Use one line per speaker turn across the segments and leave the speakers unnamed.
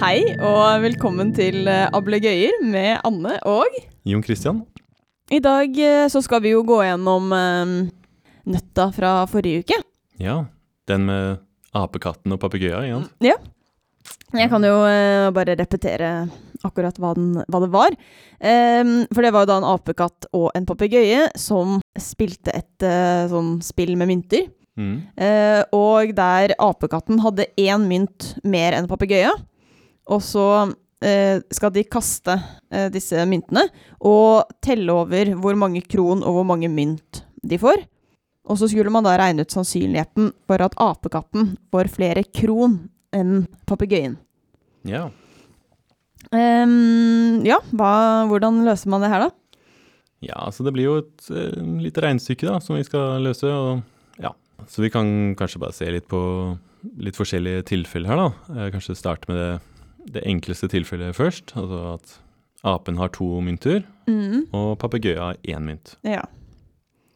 Hei og velkommen til eh, Ablegøyer med Anne og
Jon Christian.
I dag eh, så skal vi jo gå gjennom eh, nøtta fra forrige uke.
Ja, den med apekatten og papegøyen igjen.
Ja. Jeg kan jo eh, bare repetere akkurat hva, den, hva det var. Ehm, for det var jo da en apekatt og en papegøye som spilte et eh, sånn spill med mynter.
Mm.
Eh, og der apekatten hadde én mynt mer enn papegøye. Og så eh, skal de kaste eh, disse myntene og telle over hvor mange kron og hvor mange mynt de får. Og så skulle man da regne ut sannsynligheten for at apekatten får flere kron enn papegøyen.
Ja.
Ehm, ja, hva, hvordan løser man det her, da?
ja, så det blir jo et eh, lite regnestykke da, som vi skal løse. Og, ja. Så vi kan kanskje bare se litt på litt forskjellige tilfeller her. da. Eh, Kanskje starte med det, det enkleste tilfellet først. Altså at apen har to mynter,
Mm,
og papegøyen har én mynt.
ja.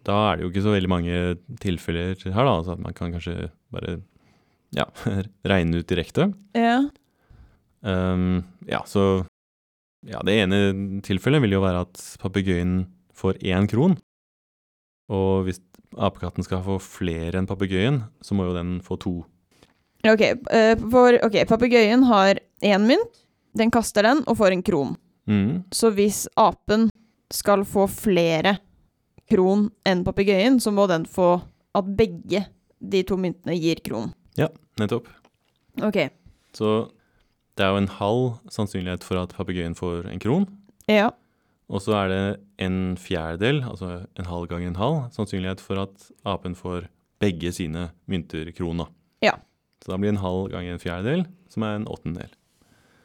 Da er det jo ikke så veldig mange tilfeller her, da. Så at man kan kanskje bare ja, regne ut direkte.
ja.
Ehm, ja, så ja, Det ene tilfellet vil jo være at papegøyen får én kron. Og hvis apekatten skal få flere enn papegøyen, så må jo den få to.
Ok, eh, for- ok, papegøyen har én mynt. Den kaster den og får en kron.
Mm.
Så hvis apen skal få flere kron enn papegøyen, så må den få at begge de to myntene gir kron.
Nettopp.
Ok.
Så det er jo en halv sannsynlighet for at papegøyen får en kron.
Ja.
Og så er det en fjerdedel, altså en halv gang en halv, sannsynlighet for at apen får begge sine mynter kron. da.
Ja.
Så da blir en halv gang en fjerdedel, som er en åttendedel.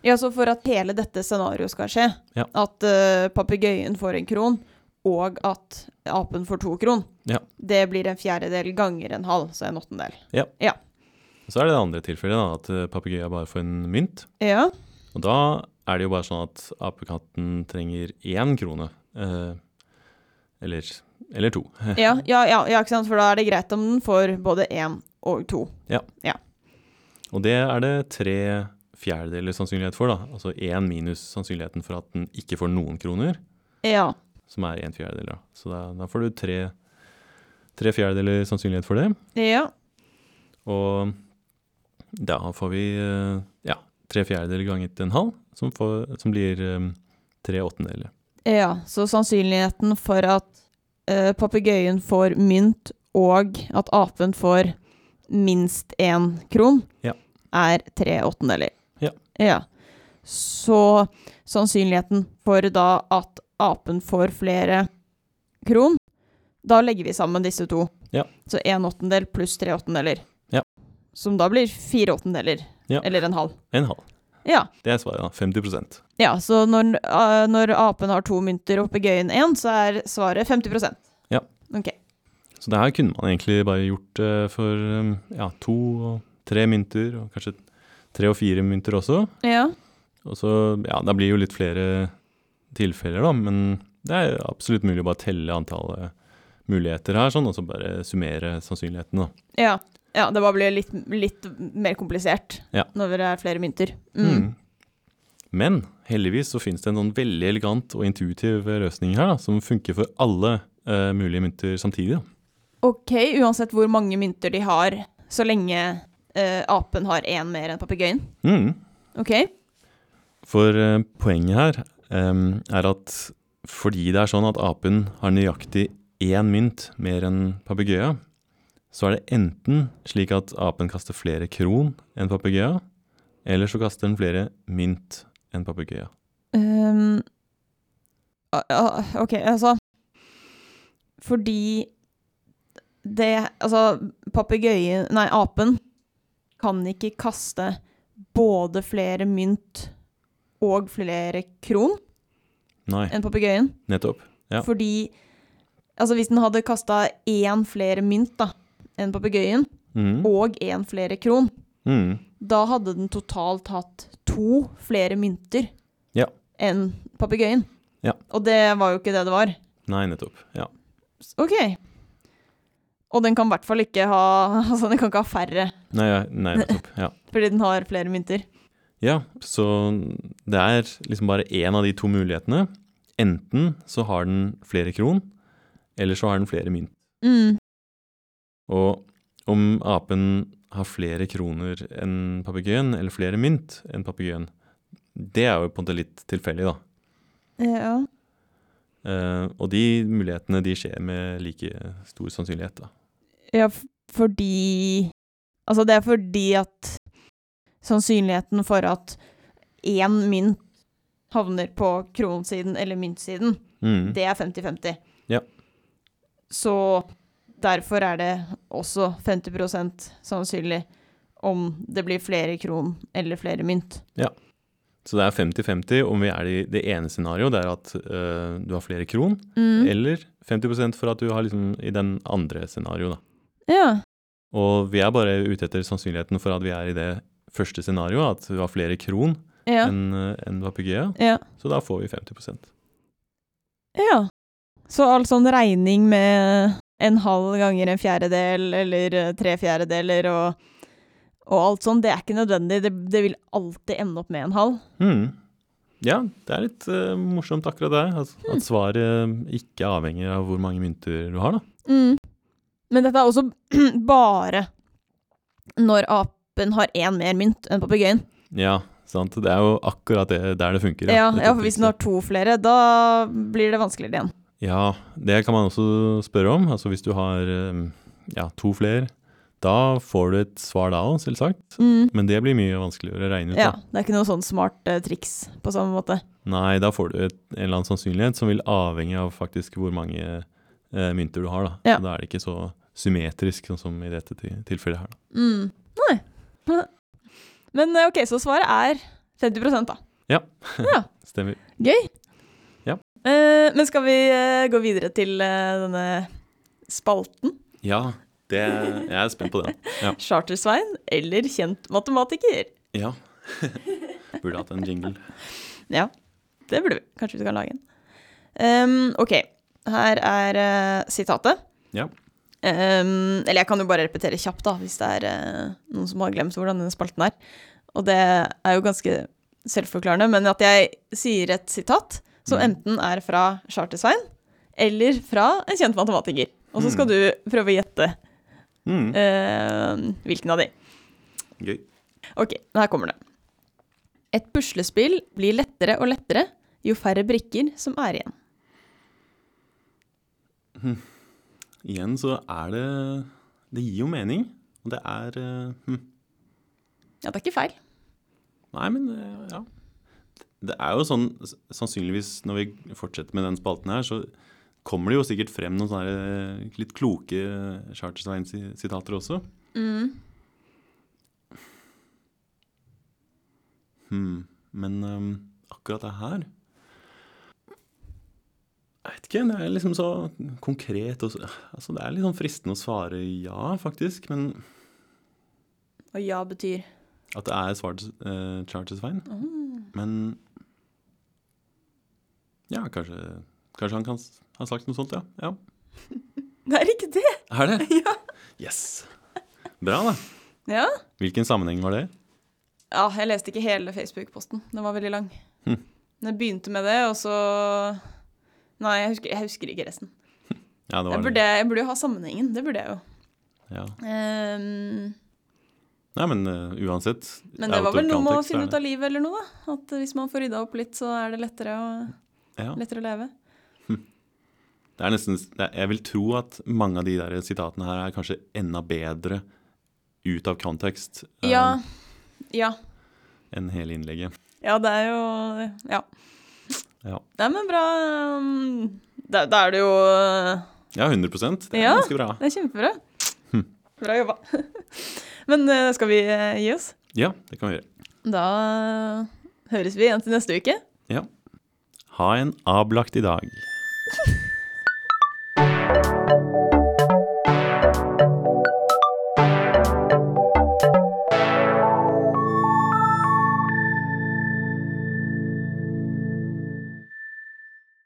ja, så for at hele dette scenarioet skal skje,
Ja.
at eh, papegøyen får en kron, og at apen får to kron,
Ja.
det blir en fjerdedel ganger en halv, så en åttendel.
Så er det det andre tilfellet, da, at eh, papegøyen bare får en mynt.
Ja.
Og da er det jo bare sånn at apekatten trenger én krone. Eh, eller, eller to.
Ja, ja, ja, ja, ikke sant? For da er det greit om den får både én og to.
Og det er det tre fjerdedeler sannsynlighet for, da. Altså én minus sannsynligheten for at den ikke får noen kroner,
Ja.
som er en fjerdedel. da. Så da, da får du tre, tre fjerdedeler sannsynlighet for det.
Ja.
Og da får vi eh, ja, tre fjerdedeler ganget en halv, som, får, som blir eh, tre åttendeler.
Ja, så sannsynligheten for at eh, papegøyen får mynt og at apen får minst én kron,
Ja.
er tre åttendeler.
Ja.
Så sannsynligheten for da at apen får flere kron Da legger vi sammen disse to.
Ja.
Så én åttendel pluss tre åttendeler.
Ja.
Som da blir fire åttendeler.
Ja.
Eller en halv.
En halv.
Ja.
Det er svaret, da. 50
Ja, så når, eh, når apen har to mynter og papegøyen én, så er svaret 50
Ja.
Ok.
Så det her kunne man egentlig bare gjort eh, for um, ja, to og tre mynter, og kanskje tre og fire mynter også.
Ja.
Og så, ja, da blir jo litt flere tilfeller, da, men det er absolutt mulig å bare telle antallet muligheter her, sånn, og så bare summere sannsynligheten, da.
ja. Ja, det bare blir litt, litt mer komplisert
Ja.
når det er flere mynter. Mm.
Mm. Men heldigvis så finnes det en sånn veldig elegant og intuitiv løsning her, da, som funker for alle eh, mulige mynter samtidig. Da.
Ok, uansett hvor mange mynter de har, så lenge eh, apen har én mer enn papegøyen.
Mm.
Ok?
For eh, poenget her em, er at fordi det er sånn at apen har nøyaktig én mynt mer enn papegøyen, så er det enten slik at apen kaster flere kron enn papegøyen, eller så kaster den flere mynt enn papegøyen.
Ehm, a- a- ok, altså Fordi det Altså, papegøyen Nei, apen kan ikke kaste både flere mynt og flere kron
Nei,
enn papegøyen.
nettopp. Ja.
Fordi Altså, hvis den hadde kasta én flere mynt da enn papegøyen,
Mm.
og én flere kron,
Mm.
da hadde den totalt hatt to flere mynter
Ja.
enn papegøyen.
Ja.
Og det var jo ikke det det var.
Nei, nettopp. Ja.
S- OK. Og den kan i hvert fall ikke ha Altså, den kan ikke ha færre
Nei, ja, nei nettopp. Ja.
fordi den har flere mynter.
Ja, så det er liksom bare én av de to mulighetene. Enten så har den flere kron, eller så har den flere mynt.
Mm.
Og om apen har flere kroner enn papegøyen, eller flere mynt enn papegøyen, det er jo på en måte litt tilfeldig, da.
Ja.
Eh, og de mulighetene de skjer med like stor sannsynlighet, da.
ja, f- fordi Altså, det er fordi at sannsynligheten for at én mynt havner på kronsiden eller myntsiden,
Mm.
det er 50-50.
Ja.
Så derfor er det også 50 sannsynlig om det blir flere kron eller flere mynt.
Så det er 50-50 om vi er i det ene scenarioet, det er at eh, du har flere kron,
Mm.
eller 50 for at du har liksom i den andre scenarioet, da.
Ja.
Og vi er bare ute etter sannsynligheten for at vi er i det første scenarioet, at du har flere kron
Ja.
enn en papegøye,
ja.
så da får vi 50
Ja. Så all sånn regning med en halv ganger en fjerdedel, eller eh, tre fjerdedeler og, og alt sånn, det er ikke nødvendig. Det, det vil alltid ende opp med en halv.
Hmm.
Mm.
Ja, det er litt eh, morsomt akkurat det. At,
Hmm.
at svaret eh, ikke avhenger av hvor mange mynter du har, da.
Mm. Men dette er også bare når apen har én mer mynt enn papegøyen.
Ja, sant. Det er jo akkurat det der det funker.
Ja,
Det
ja, for hvis den har to flere, da blir det vanskeligere igjen.
Ja, det kan man også spørre om. Altså hvis du har eh, ja, to flere, da får du et svar da òg, selvsagt. Men det blir mye vanskeligere å regne ut.
Mm. Ja,
da.
det er ikke noe sånn smart eh, triks på samme måte.
Nei, da får du et, en eller annen sannsynlighet som vil avhenge av faktisk hvor mange eh, mynter du har. Da.
Ja.
Så da er det ikke så symmetrisk sånn som i dette ti- tilfellet her. Da.
Mm. Nei. Men eh, OK, så svaret er 50 da.
Stemmer.
Gøy.
Ja.
Eh, men skal vi eh, gå videre til eh, denne spalten?
Ja, det, jeg er spent på den.
Chartersvein eller kjent matematiker?
Ja. Burde hatt en jingle.
Ja, det burde vi. Kanskje vi skal lage en. Ehm, OK. Her er eh, sitatet.
Ja.
Ehm, eller jeg kan jo bare repetere kjapt, da, hvis det er eh, noen som har glemt hvordan denne spalten er. Og det er jo ganske selvforklarende, men at jeg sier et sitat som
Mm.
enten er fra Charter-Svein eller fra en kjent matematiker. Og så skal
Mm.
du prøve å gjette
Mm.
eh, hvilken av de.
Gøy.
Ok, her kommer det. Et puslespill blir lettere og lettere jo færre brikker som er igjen.
Igjen så er det Det gir jo mening. Og det er eh, hm.
Ja, det er ikke feil.
Nei, men eh, ja. Det er jo sånn s- sannsynligvis når vi fortsetter med den spalten her, så kommer det jo sikkert frem noen sånne eh, litt kloke Charterstein-sitater også.
Mm.
Hmm. Men ehm, akkurat det her Jeg vet ikke. Det er liksom så konkret og så altså, Det er litt sånn fristende å svare ja, faktisk. Men
Og ja betyr
at det er svart uh, Charterstein.
Mm.
Men Ja, kanskje, kanskje han kan s- ha sagt noe sånt, ja. ja.
Det er ikke det!
Er det?
Ja.
Yes! Bra, da.
ja.
Hvilken sammenheng var det?
Ja, jeg leste ikke hele Facebook-posten. Den var veldig lang.
Hm.
Men Jeg begynte med det, og så Nei, jeg husker, jeg husker ikke resten.
Ja, det
Jeg
var det.
burde, jeg burde jo ha sammenhengen. Det burde jeg jo.
Ja.
Ehm,
Nei, men eh, uansett
men det var vel noe med å finne ut av livet eller noe, da. At hvis man får rydda opp litt, så er det lettere å,
ja.
lettere å leve.
Det er nesten, det er, jeg vil tro at mange av de der sitatene her er kanskje enda bedre ut av kontekst eh,
Ja. Ja.
enn hele innlegget.
Ja, det er jo Ja.
Ja,
Nei, men bra. um, Da, da er det jo uh,
ja 100 Det er
Ja.
ganske bra.
Det er kjempebra. Bra jobba. Men uh, skal vi uh, gi oss?
Ja, det kan vi gjøre.
Da eh, uh, høres vi igjen til neste uke.
Ja. Ha en ablakt i dag.